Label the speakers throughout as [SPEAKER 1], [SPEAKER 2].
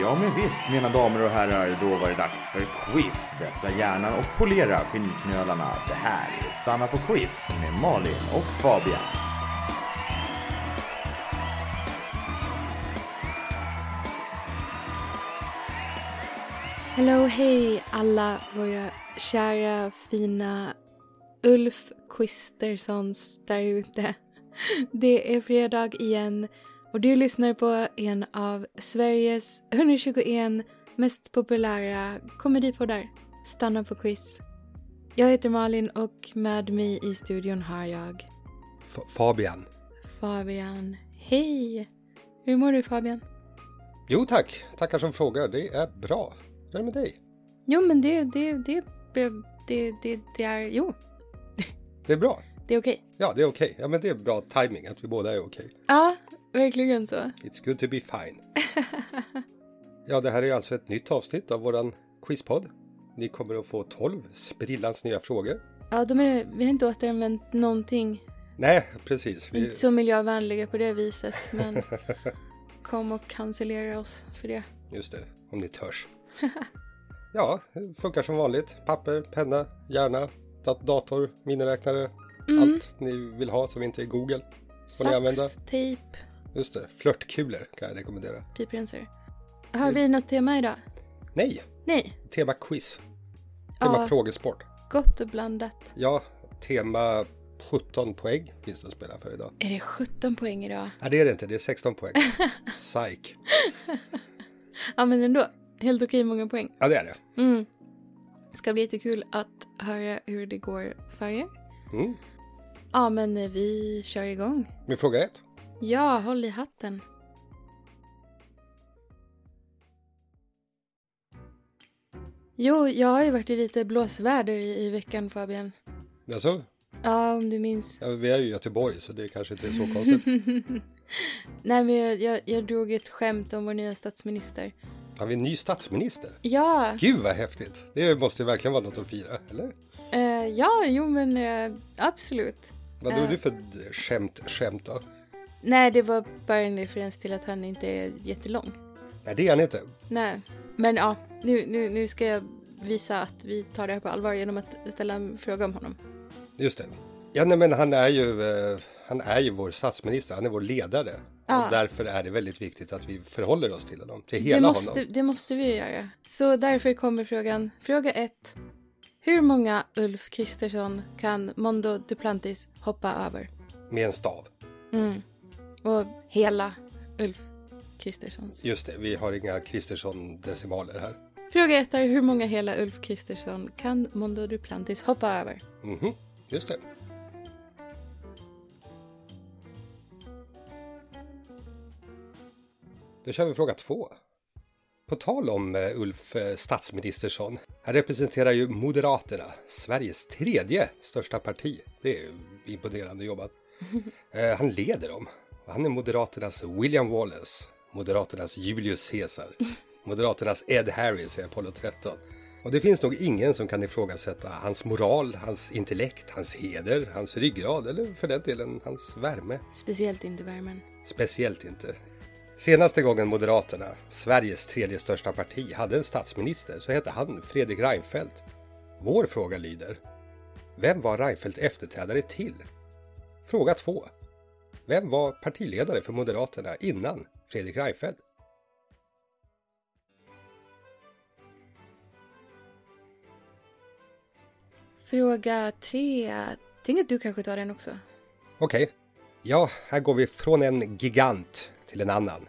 [SPEAKER 1] Ja, men visst, mina damer och herrar, då var det dags för quiz. Vässa hjärnan och polera skinnknölarna. Det här är Stanna på quiz med Malin och Fabian.
[SPEAKER 2] Hello, hej alla våra kära fina Ulf Quisterssons där ute. Det är fredag igen och du lyssnar på en av Sveriges 121 mest populära komedipoddar, Stanna på quiz. Jag heter Malin och med mig i studion har jag
[SPEAKER 3] F- Fabian.
[SPEAKER 2] Fabian. Hej! Hur mår du Fabian?
[SPEAKER 3] Jo tack, tackar som frågar. Det är bra. Hur är det med dig?
[SPEAKER 2] Jo men det, det, det, det, det, det, det är, jo,
[SPEAKER 3] Det är bra.
[SPEAKER 2] det är okej.
[SPEAKER 3] Ja, det är okej. Ja, men det är bra timing att vi båda är okej.
[SPEAKER 2] Ja, verkligen så.
[SPEAKER 3] It's good to be fine. ja, det här är alltså ett nytt avsnitt av våran quizpodd. Ni kommer att få 12 sprillans nya frågor.
[SPEAKER 2] Ja, de är, vi har inte återanvänt någonting.
[SPEAKER 3] Nej, precis. Vi,
[SPEAKER 2] Inte så miljövänliga på det viset, men kom och cancellera oss för det.
[SPEAKER 3] just det, om ni törs. ja, det funkar som vanligt. Papper, penna, hjärna, dat- dator, miniräknare.
[SPEAKER 2] Mm.
[SPEAKER 3] Allt ni vill ha som inte är Google. Får ni använda?
[SPEAKER 2] Sax, tejp,
[SPEAKER 3] Just det, flörtkulor kan jag rekommendera.
[SPEAKER 2] piprensare.
[SPEAKER 3] Mm.
[SPEAKER 2] Har vi något tema idag?
[SPEAKER 3] Nej,
[SPEAKER 2] Nej.
[SPEAKER 3] Tema quiz. Tema
[SPEAKER 2] Ja.
[SPEAKER 3] frågesport.
[SPEAKER 2] Gott och blandat.
[SPEAKER 3] Ja, tema 17 poäng finns det att spela för idag.
[SPEAKER 2] Är det 17 poäng idag?
[SPEAKER 3] Nej, det är det inte. Det är 16 poäng. Psyk.
[SPEAKER 2] Ja, men ändå. Helt okej många poäng.
[SPEAKER 3] Ja, det är det.
[SPEAKER 2] Mm. Ska bli jättekul att höra hur det går för er.
[SPEAKER 3] Mm.
[SPEAKER 2] Ja, men eh, vi kör igång.
[SPEAKER 3] Med fråga ett.
[SPEAKER 2] Ja, håll i hatten. Jo, jag har ju varit i lite blåsväder i, i veckan Fabian.
[SPEAKER 3] Alltså,
[SPEAKER 2] Ja, om du minns.
[SPEAKER 3] ja, vi är ju i Göteborg så det kanske inte är så konstigt.
[SPEAKER 2] Nej, men jag, jag, jag drog ett skämt om vår nya statsminister.
[SPEAKER 3] Har vi en ny statsminister?
[SPEAKER 2] Ja,
[SPEAKER 3] Gud vad häftigt! Det måste ju verkligen vara något att fira, eller?
[SPEAKER 2] eh, ja, jo men eh, absolut.
[SPEAKER 3] Vad
[SPEAKER 2] Ja.
[SPEAKER 3] är du för d- skämt, skämt då?
[SPEAKER 2] Nej, det var bara en referens till att han inte är jättelång.
[SPEAKER 3] Nej, det är han inte.
[SPEAKER 2] Nej, men ja, nu, nu, nu ska jag visa att vi tar det här på allvar genom att ställa en fråga om honom.
[SPEAKER 3] Just det. Ja, nej, men han är ju, eh, han är ju vår statsminister, han är vår ledare.
[SPEAKER 2] Ja.
[SPEAKER 3] Och därför är det väldigt viktigt att vi förhåller oss till honom, till
[SPEAKER 2] det,
[SPEAKER 3] hela
[SPEAKER 2] måste,
[SPEAKER 3] honom.
[SPEAKER 2] det måste vi göra. Så därför kommer frågan. Fråga 1. Hur många Ulf Kristersson kan Mondo Duplantis hoppa över?
[SPEAKER 3] Med en stav.
[SPEAKER 2] Mm. Och hela Ulf Kristerssons.
[SPEAKER 3] Just det, vi har inga Kristersson-decimaler här.
[SPEAKER 2] Fråga 1 är hur många hela Ulf Kristersson kan Mondo Duplantis hoppa över?
[SPEAKER 3] Mhm, just det. Då kör vi fråga två. På tal om eh, Ulf eh, statsministersson. Han representerar ju Moderaterna, Sveriges tredje största parti. Det är ju imponerande jobbat. Eh, Han leder dem. Och Han är Moderaternas William Wallace, Moderaternas Julius Caesar, Moderaternas Ed Harris i Apollo 13. Och det finns nog ingen som kan ifrågasätta hans moral, hans intellekt, hans heder, hans ryggrad eller för den delen hans värme.
[SPEAKER 2] Speciellt inte värmen.
[SPEAKER 3] Speciellt inte. Senaste gången Moderaterna, Sveriges tredje största parti, hade en statsminister så hette han Fredrik Reinfeldt. Vår fråga lyder. Vem var Reinfeldt efterträdare till? Fråga 2. Vem var partiledare för Moderaterna innan Fredrik Reinfeldt?
[SPEAKER 2] Fråga 3. Tänk att du kanske tar den också.
[SPEAKER 3] Okej. Ja, här går vi från en gigant till en annan.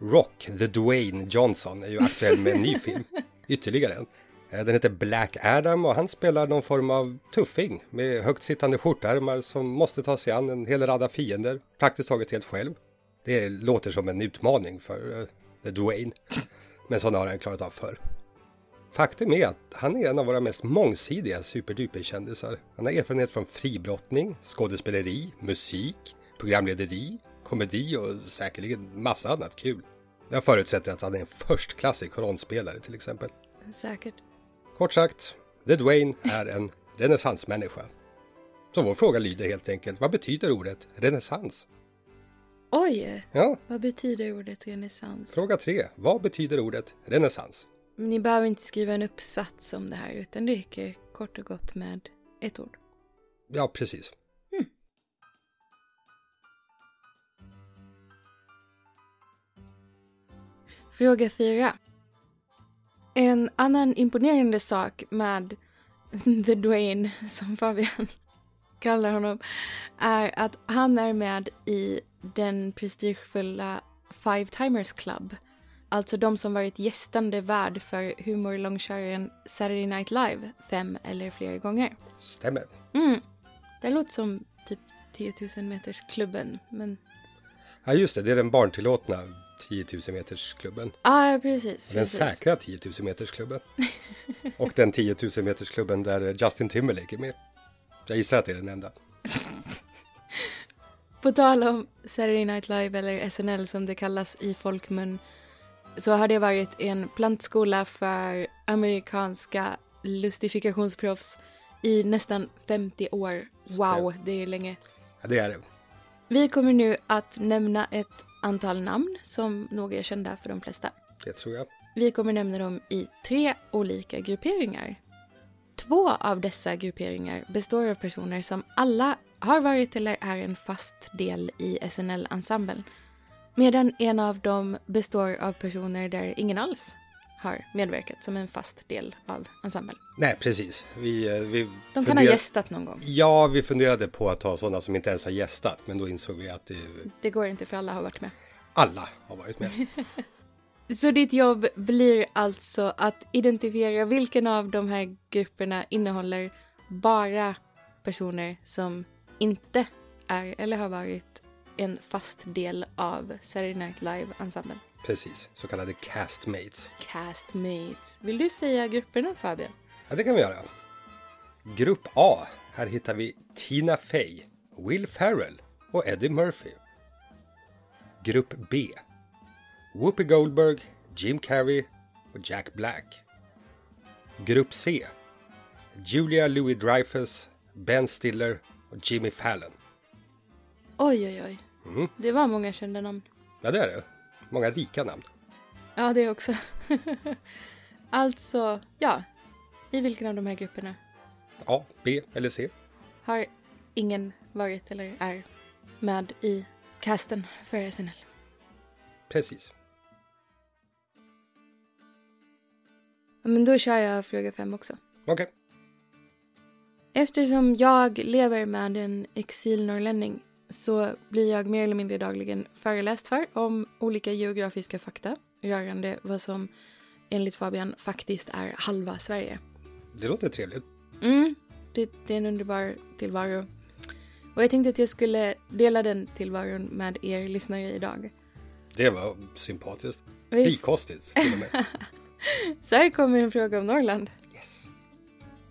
[SPEAKER 3] Rock, the Dwayne Johnson, är ju aktuell med en ny film. Ytterligare en. Eh, Den heter Black Adam och han spelar någon form av tuffing med högt sittande skjortärmar som måste ta sig an en hel radda fiender, praktiskt taget helt själv. Det låter som en utmaning för eh, The Dwayne, men sådana har han klarat av förr. Faktum är att han är en av våra mest mångsidiga superduperkändisar. Han har erfarenhet från fribrottning, skådespeleri, musik, programlederi, komedi och säkerligen massa annat kul. Jag förutsätter att han är en förstklassig koronspelare till exempel.
[SPEAKER 2] Säkert.
[SPEAKER 3] Kort sagt, The Dwayne är en renässansmänniska. Så vår fråga lyder helt enkelt, vad betyder ordet renässans?
[SPEAKER 2] Oj!
[SPEAKER 3] Ja,
[SPEAKER 2] Vad betyder ordet renässans?
[SPEAKER 3] fråga tre. Vad betyder ordet renässans?
[SPEAKER 2] Ni behöver inte skriva en uppsats om det här utan det räcker kort och gott med ett ord.
[SPEAKER 3] Ja, precis.
[SPEAKER 2] Fråga 4. En annan imponerande sak med The Dwayne, som Fabian kallar honom, är att han är med i den prestigefulla Five Timers Club. Alltså de som varit gästande värd för humorlångköraren Saturday Night Live fem eller fler gånger.
[SPEAKER 3] Stämmer.
[SPEAKER 2] Mm. Det låter som typ 10 000 meters klubben, men...
[SPEAKER 3] Ja, just det. Det är den barntillåtna 10 000 metersklubben.
[SPEAKER 2] Ja, ah, precis.
[SPEAKER 3] Den
[SPEAKER 2] precis.
[SPEAKER 3] säkra 10 000 metersklubben. Och den 10 000 metersklubben där Justin Timberlake är med. Jag gissar att det är den enda.
[SPEAKER 2] På tal om Saturday Night Live eller SNL som det kallas i folkmun så har det varit en plantskola för amerikanska lustifikationsproffs i nästan 50 år. Wow, det är länge.
[SPEAKER 3] Ja, det är det.
[SPEAKER 2] Vi kommer nu att nämna ett antal namn som nog är kända för de flesta.
[SPEAKER 3] Det tror jag.
[SPEAKER 2] Vi kommer nämna dem i tre olika grupperingar. Två av dessa grupperingar består av personer som alla har varit eller är en fast del i SNL-ensemblen. Medan en av dem består av personer där ingen alls har medverkat som en fast del av ensemblen.
[SPEAKER 3] Nej, precis. Vi, eh, vi
[SPEAKER 2] De kan ha
[SPEAKER 3] funderar-
[SPEAKER 2] gästat någon gång.
[SPEAKER 3] Ja, vi funderade på att ta sådana som inte ens har gästat, men då insåg vi att det,
[SPEAKER 2] Det går inte för alla har varit med.
[SPEAKER 3] alla har varit med.
[SPEAKER 2] Så ditt jobb blir alltså att identifiera vilken av de här grupperna innehåller bara personer som inte är eller har varit en fast del av Saturday Night Live-ensemblen.
[SPEAKER 3] Precis, så kallade castmates.
[SPEAKER 2] Castmates. Vill du säga grupperna Fabian?
[SPEAKER 3] Ja, det kan vi göra. Grupp A. Här hittar vi Tina Fey, Will Ferrell och Eddie Murphy. Grupp B. Whoopi Goldberg, Jim Carrey och Jack Black. Grupp C. Julia Louis-Dreyfus, Ben Stiller och Jimmy Fallon.
[SPEAKER 2] Oj, oj, oj. Det var många kända namn.
[SPEAKER 3] Ja, det är det. Många rika namn.
[SPEAKER 2] Ja, det också. alltså, ja. I vilken av de här grupperna
[SPEAKER 3] A, B eller C.
[SPEAKER 2] har ingen varit eller är med i casten för SNL.
[SPEAKER 3] Precis.
[SPEAKER 2] Ja, Men då kör jag fråga fem också.
[SPEAKER 3] Okej.
[SPEAKER 2] Eftersom jag lever med en exilnorrlänning så blir jag mer eller mindre dagligen föreläst för om olika geografiska fakta rörande vad som enligt Fabian faktiskt är halva Sverige.
[SPEAKER 3] Det låter trevligt.
[SPEAKER 2] Mm, det, det är en underbar tillvaro. Och jag tänkte att jag skulle dela den tillvaron med er lyssnare idag.
[SPEAKER 3] Det var sympatiskt.
[SPEAKER 2] Visst.
[SPEAKER 3] Frikostigt till och med.
[SPEAKER 2] Så här kommer en fråga om Norrland.
[SPEAKER 3] Yes.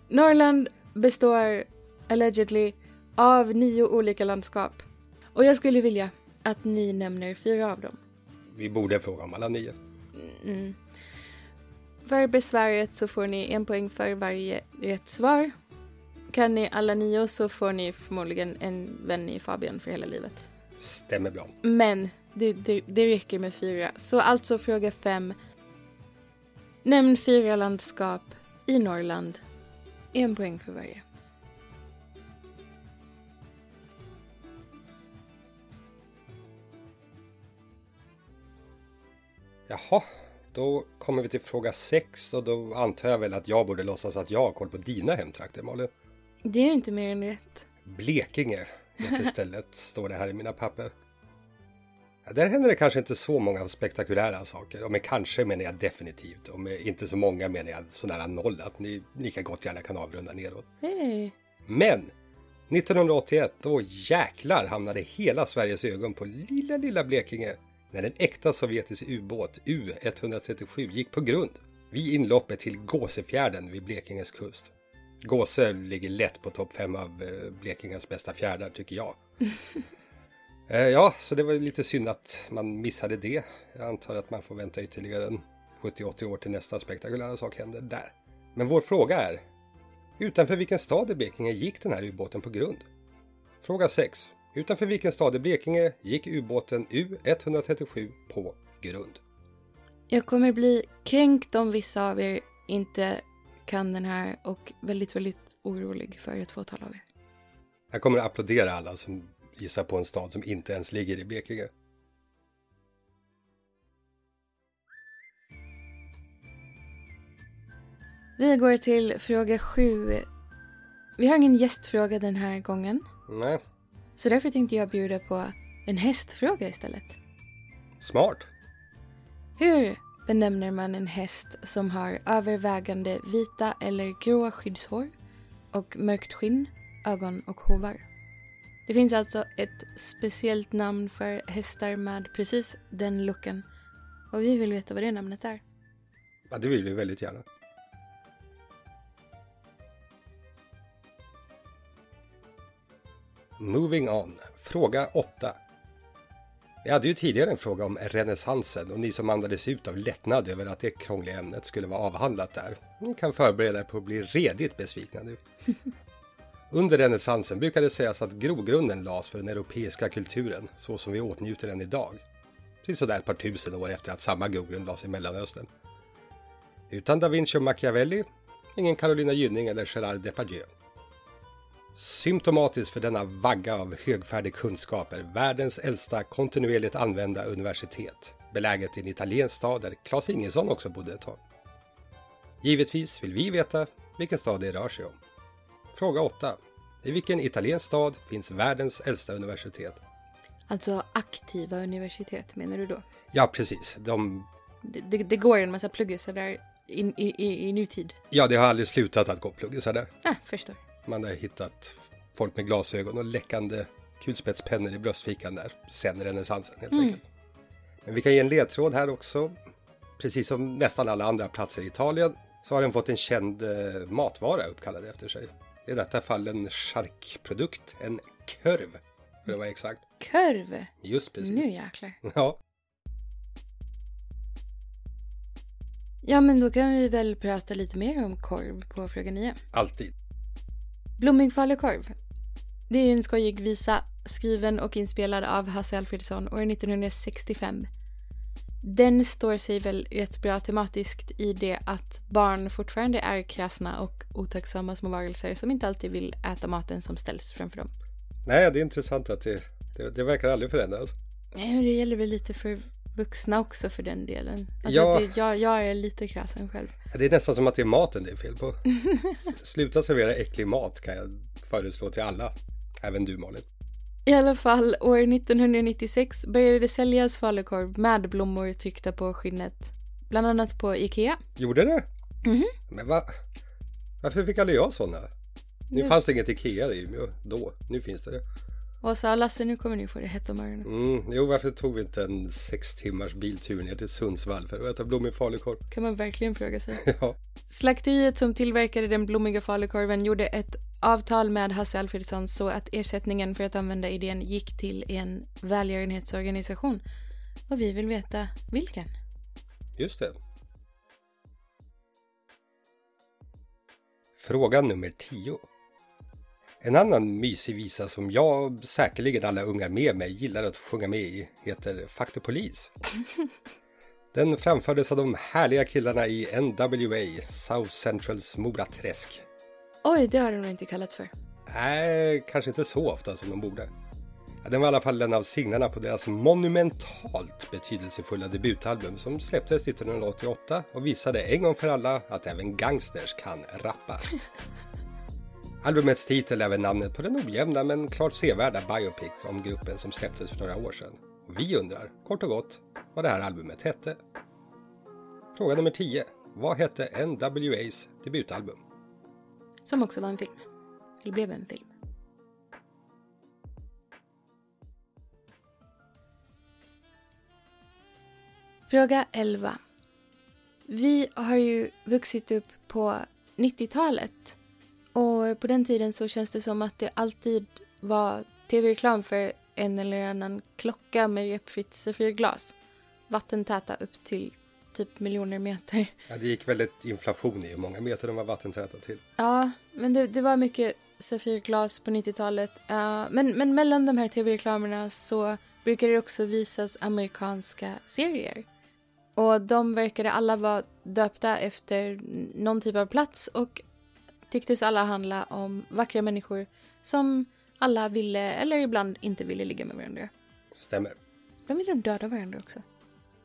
[SPEAKER 2] Norrland består allegedly av nio olika landskap. Och jag skulle vilja att ni nämner fyra av dem.
[SPEAKER 3] Vi borde fråga om alla nio.
[SPEAKER 2] För besväret så får ni en poäng för varje rätt svar. Kan ni alla nio så får ni förmodligen en vän i Fabian för hela livet.
[SPEAKER 3] Stämmer bra.
[SPEAKER 2] Men det, det, det räcker med fyra. Så alltså fråga fem. Nämn fyra landskap i Norrland. En poäng för varje.
[SPEAKER 3] Jaha, då kommer vi till fråga sex och då antar jag väl att jag borde låtsas att jag har koll på dina hemtrakter, Malin.
[SPEAKER 2] Det är ju inte mer än rätt.
[SPEAKER 3] Blekinge heter stället, står det här i mina papper. Ja, där händer det kanske inte så många spektakulära saker. Och med kanske menar jag definitivt. Och med inte så många menar jag så nära noll att ni lika gott gärna kan avrunda neråt.
[SPEAKER 2] Hej!
[SPEAKER 3] Men 1981, då jäklar hamnade hela Sveriges ögon på lilla, lilla Blekinge när en äkta sovjetisk ubåt U137 gick på grund vid inloppet till Gåsefjärden vid Blekinges kust. Gåse ligger lätt på topp 5 av eh, Blekinges bästa fjärdar tycker jag. Eh, Ja, så det var ju lite synd att man missade det. Jag antar att man får vänta ytterligare en 70-80 år till nästa spektakulära sak händer där. Men vår fråga är, Utanför vilken stad i Blekinge gick den här ubåten på grund? Fråga 6. Utanför vilken stad i Blekinge gick ubåten U137 på grund.
[SPEAKER 2] Jag kommer bli kränkt om vissa av er inte kan den här och väldigt, väldigt orolig för ett fåtal av er.
[SPEAKER 3] Jag kommer att applådera alla som gissar på en stad som inte ens ligger i Blekinge.
[SPEAKER 2] Vi går till fråga sju. Vi har ingen gästfråga den här gången,
[SPEAKER 3] Nej,
[SPEAKER 2] så därför tänkte jag bjuda på en hästfråga istället.
[SPEAKER 3] smart.
[SPEAKER 2] Hur benämner man en häst som har övervägande vita eller gråa skyddshår och mörkt skinn, ögon och hovar? Det finns alltså ett speciellt namn för hästar med precis den looken och vi vill veta vad det namnet är.
[SPEAKER 3] Ja, det vill vi väldigt gärna. Moving on. Fråga 8. Vi hade ju tidigare en fråga om renässansen och ni som andades ut av lättnad över att det krångliga ämnet skulle vara avhandlat där. Ni kan förbereda er på att bli redigt besvikna nu. Under renässansen brukade det sägas att grogrunden lades för den europeiska kulturen så som vi åtnjuter den idag. Precis sådär ett par tusen år efter att samma grogrund lades i Mellanöstern. Utan da Vinci och Machiavelli, ingen Carolina Gynning eller Gerard Depardieu. Symptomatiskt för denna vagga av högfärdig kunskap är världens äldsta kontinuerligt använda universitet, beläget i en italiensk stad där Claes Ingesson också bodde ett tag. Givetvis vill vi veta vilken stad det rör sig om. Fråga 8. I vilken italiensk stad finns världens äldsta universitet?
[SPEAKER 2] Alltså aktiva universitet menar du då?
[SPEAKER 3] Ja, precis. De
[SPEAKER 2] Det, det, det går en massa pluggisar där i, i, i, i nutid.
[SPEAKER 3] Ja, det har aldrig slutat att gå pluggisar där.
[SPEAKER 2] Ah, förstår.
[SPEAKER 3] Man har hittat folk med glasögon och läckande kulspetspennor i bröstfickan där, sen renässansen helt enkelt. Men vi kan ge en ledtråd här också. Precis som nästan alla andra platser i Italien så har den fått en känd eh, matvara uppkallad efter sig. I detta fall en charkprodukt, en körv, för att vara exakt.
[SPEAKER 2] Kurv!
[SPEAKER 3] Just precis.
[SPEAKER 2] Nu jäklar.
[SPEAKER 3] Ja,
[SPEAKER 2] Ja, men då kan vi väl prata lite mer om korv på fråga nio.
[SPEAKER 3] alltid.
[SPEAKER 2] Blommig falukorv. Det är ju en skojig visa skriven och inspelad av Hasse Alfredsson år 1965. Den står sig väl rätt bra tematiskt i det att barn fortfarande är kräsna och otacksamma små varelser som inte alltid vill äta maten som ställs framför dem.
[SPEAKER 3] Nej, det är intressant att det, det, det verkar aldrig förändras.
[SPEAKER 2] Nej, men det gäller väl lite för vuxna också för den delen. Alltså
[SPEAKER 3] Ja.
[SPEAKER 2] det, jag, jag är lite kräsen själv.
[SPEAKER 3] Det är nästan som att det är maten det är fel på. S- Sluta servera äcklig mat kan jag föreslå till alla. Även du Malin.
[SPEAKER 2] I alla fall, år 1996 började det säljas falukorv med blommor tryckta på skinnet. Bland annat på Ikea.
[SPEAKER 3] Gjorde det?
[SPEAKER 2] Mhm.
[SPEAKER 3] Men va? Varför fick aldrig jag sådana? Nu
[SPEAKER 2] Nu.
[SPEAKER 3] fanns det inget Ikea i Umeå då. Nu finns det det.
[SPEAKER 2] Och sa Lasse, nu kommer ni få det hett om öronen.
[SPEAKER 3] Mm, jo, varför tog vi inte en sex timmars biltur ner till Sundsvall för att äta blommig falukorv?
[SPEAKER 2] Kan man verkligen fråga sig.
[SPEAKER 3] Ja,
[SPEAKER 2] Slakteriet som tillverkade den blommiga falukorven gjorde ett avtal med Hasse Alfredsson så att ersättningen för att använda idén gick till en välgörenhetsorganisation. Och vi vill veta vilken.
[SPEAKER 3] just det. Fråga nummer 10. En annan mysig visa som jag och säkerligen alla unga med mig gillar att sjunga med i heter Faktor Polis. Den framfördes av de härliga killarna i NWA, South Centrals Moraträsk.
[SPEAKER 2] Oj, det har de nog inte kallats för.
[SPEAKER 3] Nej, kanske inte så ofta som de borde. Ja, Den var i alla fall en av singlarna på deras monumentalt betydelsefulla debutalbum som släpptes 1988 och visade en gång för alla att även gangsters kan rappa. Albumets titel är även namnet på den ojämna men klart sevärda biopic om gruppen som släpptes för några år sedan. Och vi undrar, kort och gott, vad det här albumet hette. Fråga nummer 10. Vad hette NWA's debutalbum?
[SPEAKER 2] Som också var en film. Eller blev en film. Fråga 11. Vi har ju vuxit upp på 90-talet. Och på den tiden så känns det som att det alltid var tv-reklam för en eller annan klocka med repfritt safirglas. Vattentäta upp till typ miljoner meter.
[SPEAKER 3] Ja, det gick väldigt inflation i hur många meter de var vattentäta till.
[SPEAKER 2] Ja, men det, det var mycket Safirglas på 90-talet. Ja, men, men mellan de här tv-reklamerna så brukar det också visas amerikanska serier. Och de verkade alla vara döpta efter någon typ av plats och tycktes alla handla om vackra människor som alla ville eller ibland inte ville ligga med varandra.
[SPEAKER 3] Stämmer.
[SPEAKER 2] Ibland ville de döda varandra också.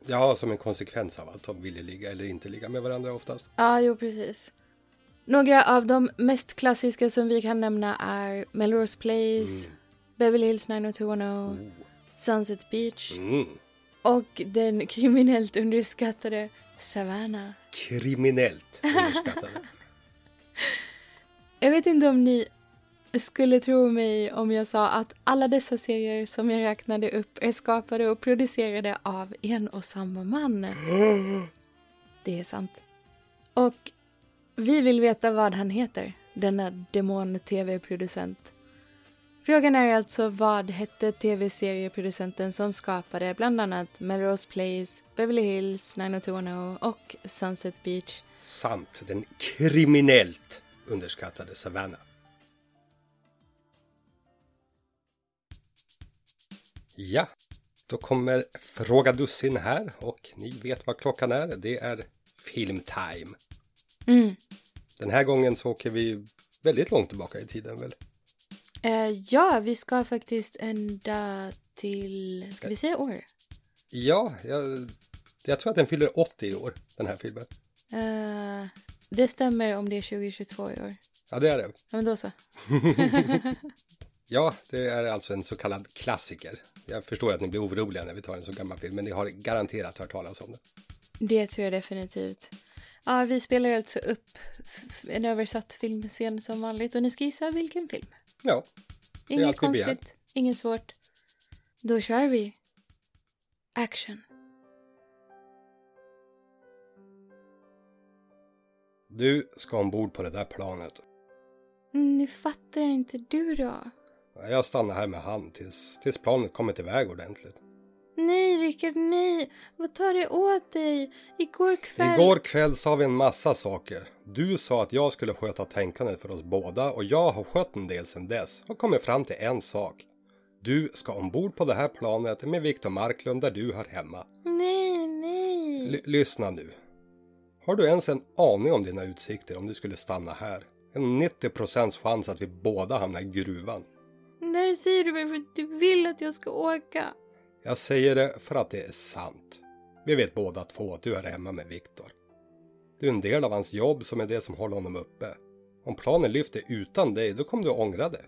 [SPEAKER 3] Ja, som en konsekvens av att de ville ligga eller inte ligga med varandra oftast.
[SPEAKER 2] Ja, jo precis. Några av de mest klassiska som vi kan nämna är Melrose Place, Beverly Hills 90210, Sunset Beach
[SPEAKER 3] Mm.
[SPEAKER 2] och den kriminellt underskattade Savannah.
[SPEAKER 3] Kriminellt underskattade.
[SPEAKER 2] Jag vet inte om ni skulle tro mig om jag sa att alla dessa serier som jag räknade upp är skapade och producerade av en och samma man. Det är sant. Och vi vill veta vad han heter, denna demon-tv-producent. Frågan är alltså vad hette tv-serieproducenten som skapade bland annat Melrose Place, Beverly Hills 90210 och Sunset Beach
[SPEAKER 3] Samt den kriminellt underskattade Savannah. Ja, då kommer Fråga Dussin här och ni vet vad klockan är. Det är filmtime.
[SPEAKER 2] Mm.
[SPEAKER 3] Den här gången så åker vi väldigt långt tillbaka i tiden väl?
[SPEAKER 2] Eh, ja, vi ska faktiskt ända till... Ska vi säga år?
[SPEAKER 3] Ja, jag, jag tror att den fyller 80 i år, den här filmen.
[SPEAKER 2] Eh, det stämmer om det är 2022 i år.
[SPEAKER 3] Ja, det är det.
[SPEAKER 2] Ja, men då så.
[SPEAKER 3] Ja, det är alltså en så kallad klassiker. Jag förstår att ni blir oroliga när vi tar en så gammal film, men ni har garanterat hört talas om den.
[SPEAKER 2] Det tror jag definitivt. Ja, vi spelar alltså upp f- en översatt filmscen som vanligt och ni ska gissa vilken film.
[SPEAKER 3] Ja, är
[SPEAKER 2] Inget
[SPEAKER 3] allt vi begär.
[SPEAKER 2] konstigt, inget svårt. Då kör vi. Action.
[SPEAKER 3] du ska ombord på det där planet.
[SPEAKER 2] Mm, Nu fattar inte du då.
[SPEAKER 3] Jag stannar här med han tills, tills planet kommit iväg ordentligt.
[SPEAKER 2] Nej, Rickard, nej. Vad tar det åt dig? Igår kväll...
[SPEAKER 3] Igår kväll sa vi en massa saker. Du sa att jag skulle sköta tänkandet för oss båda och jag har skött en del sedan dess och kommit fram till en sak. Du ska ombord på det här planet med Viktor Marklund där du hör hemma.
[SPEAKER 2] Nej, nej.
[SPEAKER 3] L- lyssna nu. Har du ens en aning om dina utsikter om du skulle stanna här? En 90 chans att vi båda hamnar i gruvan.
[SPEAKER 2] När säger du mig för att du vill att jag ska åka?
[SPEAKER 3] Jag säger det för att det är sant. Vi vet båda två att du är hemma med Viktor. Du är en del av hans jobb som är det som håller honom uppe. Om planen lyfter utan dig, då kommer du ångra det.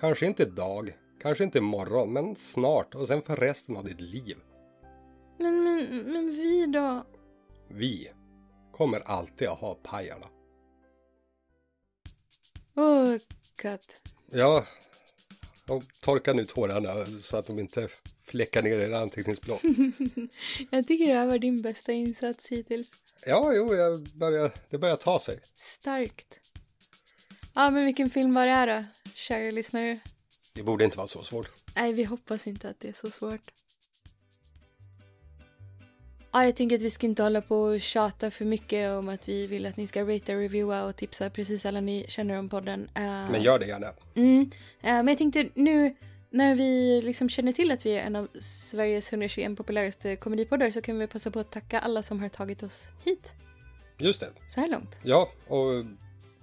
[SPEAKER 3] Kanske inte idag, kanske inte imorgon, men snart och sen för resten av ditt liv.
[SPEAKER 2] Men, men, men vi då?
[SPEAKER 3] Vi kommer alltid att ha Pajala.
[SPEAKER 2] Åh, gott.
[SPEAKER 3] Ja, och torka nu tårarna så att de inte fläckar ner era anteckningsblock.
[SPEAKER 2] Jag tycker det här var din bästa insats hittills.
[SPEAKER 3] Ja, jo, jag börjar, det börjar ta sig.
[SPEAKER 2] Starkt. Ja, men vilken film var det här då, kära lyssnare?
[SPEAKER 3] Det borde inte vara så svårt.
[SPEAKER 2] Nej, vi hoppas inte att det är så svårt. Ja, jag tänker att vi ska inte hålla på och tjata för mycket om att vi vill att ni ska ratea, reviewa och tipsa precis alla ni känner om podden. Eh,
[SPEAKER 3] Men gör det gärna.
[SPEAKER 2] Mm. Eh, Men jag tänkte nu när vi liksom känner till att vi är en av Sveriges 121 populäraste komedipoddar så kan vi passa på att tacka alla som har tagit oss hit
[SPEAKER 3] Just det.
[SPEAKER 2] så här långt.
[SPEAKER 3] Ja, och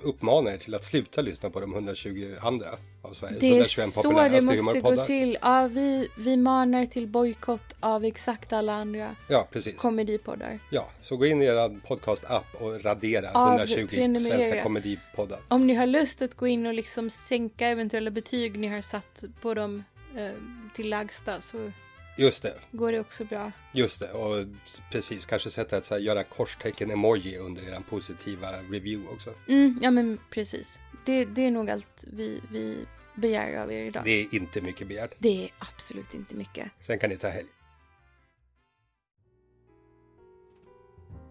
[SPEAKER 3] uppmanar er till att sluta lyssna på de 120 andra av Sveriges
[SPEAKER 2] Det är
[SPEAKER 3] 121
[SPEAKER 2] så det
[SPEAKER 3] populäraste
[SPEAKER 2] måste gå
[SPEAKER 3] humorpoddar.
[SPEAKER 2] till. Ja, vi, vi manar till bojkott av exakt alla andra
[SPEAKER 3] Ja, precis.
[SPEAKER 2] komedipoddar.
[SPEAKER 3] Ja, så gå in i er podcast-app och radera
[SPEAKER 2] Av-
[SPEAKER 3] 120
[SPEAKER 2] prenumerera.
[SPEAKER 3] svenska komedipoddar.
[SPEAKER 2] Om ni har lust att gå in och liksom sänka eventuella betyg ni har satt på dem eh, till lägsta så
[SPEAKER 3] Just det,
[SPEAKER 2] går det också bra.
[SPEAKER 3] just det. Och precis, kanske sätta ett så här, göra korstecken-emoji under er positiva review också.
[SPEAKER 2] Mm, ja men precis. Det, det är nog allt vi, vi begär av er idag.
[SPEAKER 3] Det är inte mycket begärt.
[SPEAKER 2] Det är absolut inte mycket.
[SPEAKER 3] Sen kan ni ta helg.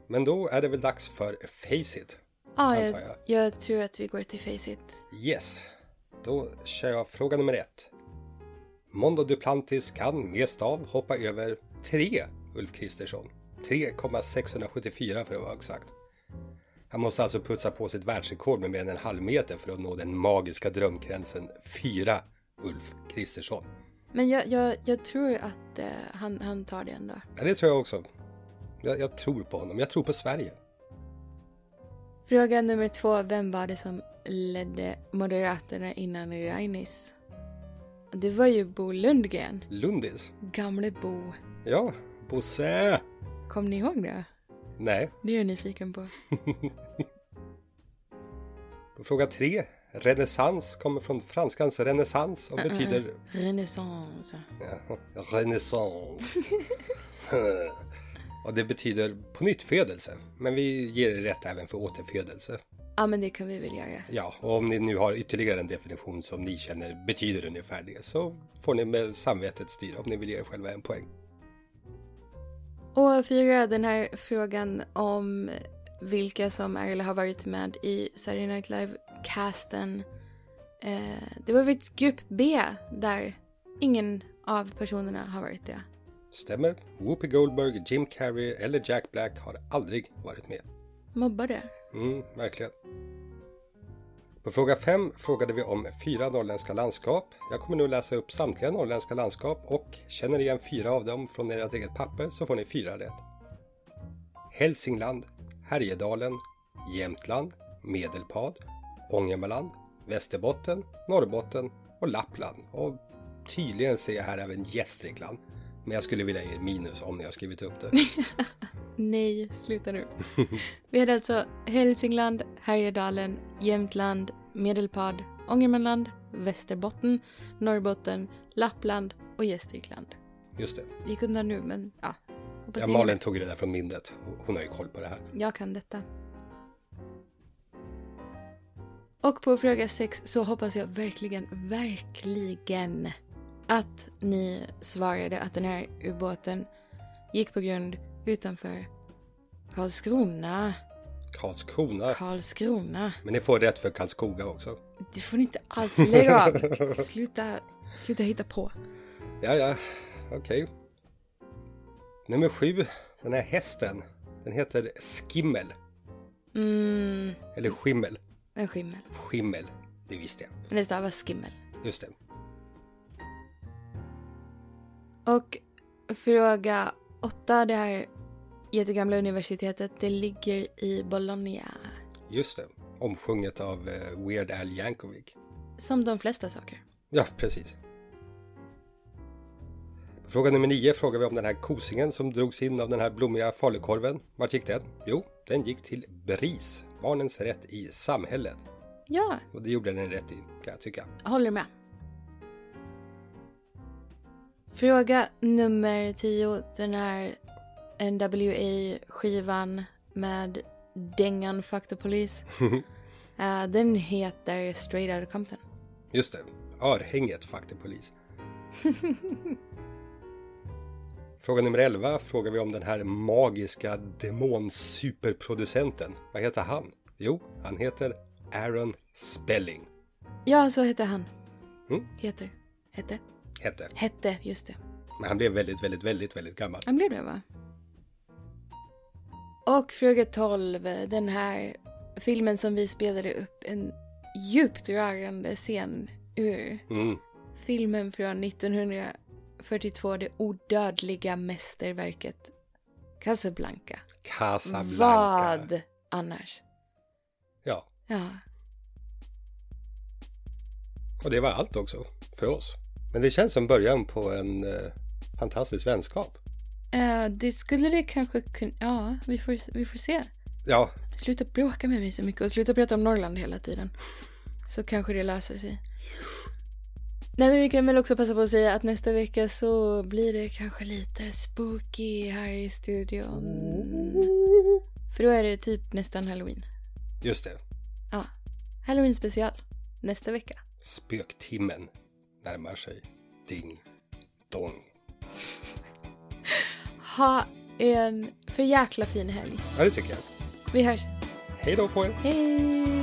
[SPEAKER 3] Men då är det väl dags för Faceit.
[SPEAKER 2] Ja,
[SPEAKER 3] Antar
[SPEAKER 2] jag, jag tror att vi går till Faceit.
[SPEAKER 3] Yes, då kör jag fråga nummer ett. Mondo Duplantis kan med stav hoppa över tre Ulf Kristersson. 3,674 för att vara exakt. Han måste alltså putsa på sitt världsrekord med mer än en halv meter för att nå den magiska drömgränsen 4, Ulf Kristersson.
[SPEAKER 2] Men jag, jag, jag tror att eh, han, han tar det ändå.
[SPEAKER 3] Ja, det tror jag också. Jag, jag tror på honom. Jag tror på Sverige.
[SPEAKER 2] Fråga nummer två. Vem var det som ledde Moderaterna innan Rainis? Det var ju Bo Lundgren.
[SPEAKER 3] Lundis?
[SPEAKER 2] Gamle Bo.
[SPEAKER 3] Ja, Bosse!
[SPEAKER 2] Kommer ni ihåg det?
[SPEAKER 3] Nej.
[SPEAKER 2] Det är jag nyfiken på.
[SPEAKER 3] På Fråga tre. Renässans kommer från franskans renässans och betyder
[SPEAKER 2] Renaissance.
[SPEAKER 3] Ja, renässans. och det betyder på nytt födelse. Men vi ger det rätt även för återfödelse.
[SPEAKER 2] Ja, men det kan vi väl göra.
[SPEAKER 3] Ja, och om ni nu har ytterligare en definition som ni känner betyder ungefär det så får ni med samvetet styra om ni vill ge er själva en poäng.
[SPEAKER 2] Och fyra, den här frågan om vilka som är eller har varit med i Saturday Night Live-casten. Eh, det var väl grupp B där ingen av personerna har varit det.
[SPEAKER 3] Stämmer? Whoopi Goldberg, Jim Carrey eller Jack Black har aldrig varit med.
[SPEAKER 2] Mobbade.
[SPEAKER 3] Mm, verkligen. På fråga 5 frågade vi om fyra norrländska landskap. Jag kommer nu läsa upp samtliga norrländska landskap och känner igen fyra av dem från ert eget papper så får ni fyra rätt. Hälsingland, Härjedalen, Jämtland, Medelpad, Ångermanland, Västerbotten, Norrbotten och Lappland. Och tydligen ser jag här även Gästrikland. Men jag skulle vilja ge er minus om ni har skrivit upp det.
[SPEAKER 2] Nej, sluta nu. Vi hade alltså Hälsingland, Härjedalen, Jämtland, Medelpad, Ångermanland, Västerbotten, Norrbotten, Lappland och Gästrikland.
[SPEAKER 3] Just det.
[SPEAKER 2] Gick undan nu, men ja. Hoppas
[SPEAKER 3] Ja,
[SPEAKER 2] ni-
[SPEAKER 3] Malin tog det där från minnet. Hon har ju koll på det här.
[SPEAKER 2] Jag kan detta. Och på fråga sex så hoppas jag verkligen, verkligen att ni svarade att den här ubåten gick på grund utanför Karlskrona.
[SPEAKER 3] Karlskrona.
[SPEAKER 2] Karlskrona.
[SPEAKER 3] Men ni får rätt för Karlskoga också.
[SPEAKER 2] Det får ni inte alls lägga av. Sluta, sluta hitta på.
[SPEAKER 3] Ja, ja, okej. Nummer sju, den här hästen. Den heter Skimmel.
[SPEAKER 2] Mm,
[SPEAKER 3] Eller Skimmel.
[SPEAKER 2] en skimmel.
[SPEAKER 3] Skimmel, det visste jag.
[SPEAKER 2] Men det stavas skimmel.
[SPEAKER 3] Just det.
[SPEAKER 2] Och fråga åtta, det här jättegamla universitetet, det ligger i Bologna.
[SPEAKER 3] Just det. Omsjunget av eh, Weird Al Yankovic.
[SPEAKER 2] Som de flesta saker.
[SPEAKER 3] Ja, precis. På Fråga nummer nio frågar vi om den här kosingen som drogs in av den här blommiga falukorven. Vart gick den? Jo, den gick till BRIS, Barnens rätt i samhället.
[SPEAKER 2] Ja,
[SPEAKER 3] Och det gjorde den rätt i, kan jag tycka.
[SPEAKER 2] jag håller med. Fråga nummer tio, den här NWA-skivan med dängan Fuck the Police. Eh, den heter Straight Outta Compton.
[SPEAKER 3] Just det. Örhänget faktiskt polis. Fråga nummer 11 frågar vi om den här magiska demonsuperproducenten. Vad heter han? Jo, han heter Aaron Spelling.
[SPEAKER 2] Ja, så hette han.
[SPEAKER 3] Mm.
[SPEAKER 2] Heter. Hette.
[SPEAKER 3] Hette.
[SPEAKER 2] Hette, just det.
[SPEAKER 3] Men han blev väldigt, väldigt, väldigt, väldigt gammal.
[SPEAKER 2] Han blev det va? Och fråga 12, den här filmen som vi spelade upp en djupt rörande scen ur.
[SPEAKER 3] Mm.
[SPEAKER 2] Filmen från 1942, det odödliga mästerverket Casablanca.
[SPEAKER 3] Casablanca.
[SPEAKER 2] Vad annars?
[SPEAKER 3] Ja,
[SPEAKER 2] Ja,
[SPEAKER 3] och det var allt också för oss. Men det känns som början på en eh, fantastisk vänskap.
[SPEAKER 2] Eh, det skulle det kanske kunna... Ja, vi får, vi får se.
[SPEAKER 3] Ja,
[SPEAKER 2] Sluta bråka med mig så mycket och sluta prata om Norrland hela tiden. Så kanske det löser sig. Nej men vi kan väl också passa på att säga att nästa vecka så blir det kanske lite spooky här i studion. För då är det typ nästan halloween.
[SPEAKER 3] just det.
[SPEAKER 2] Ja, halloween special. Nästa vecka.
[SPEAKER 3] Spöktimmen närmar sig. Ding, dong.
[SPEAKER 2] Ha en för jäkla fin helg.
[SPEAKER 3] Ja, det tycker jag.
[SPEAKER 2] Vi hörs.
[SPEAKER 3] Hej då på er!
[SPEAKER 2] Hej!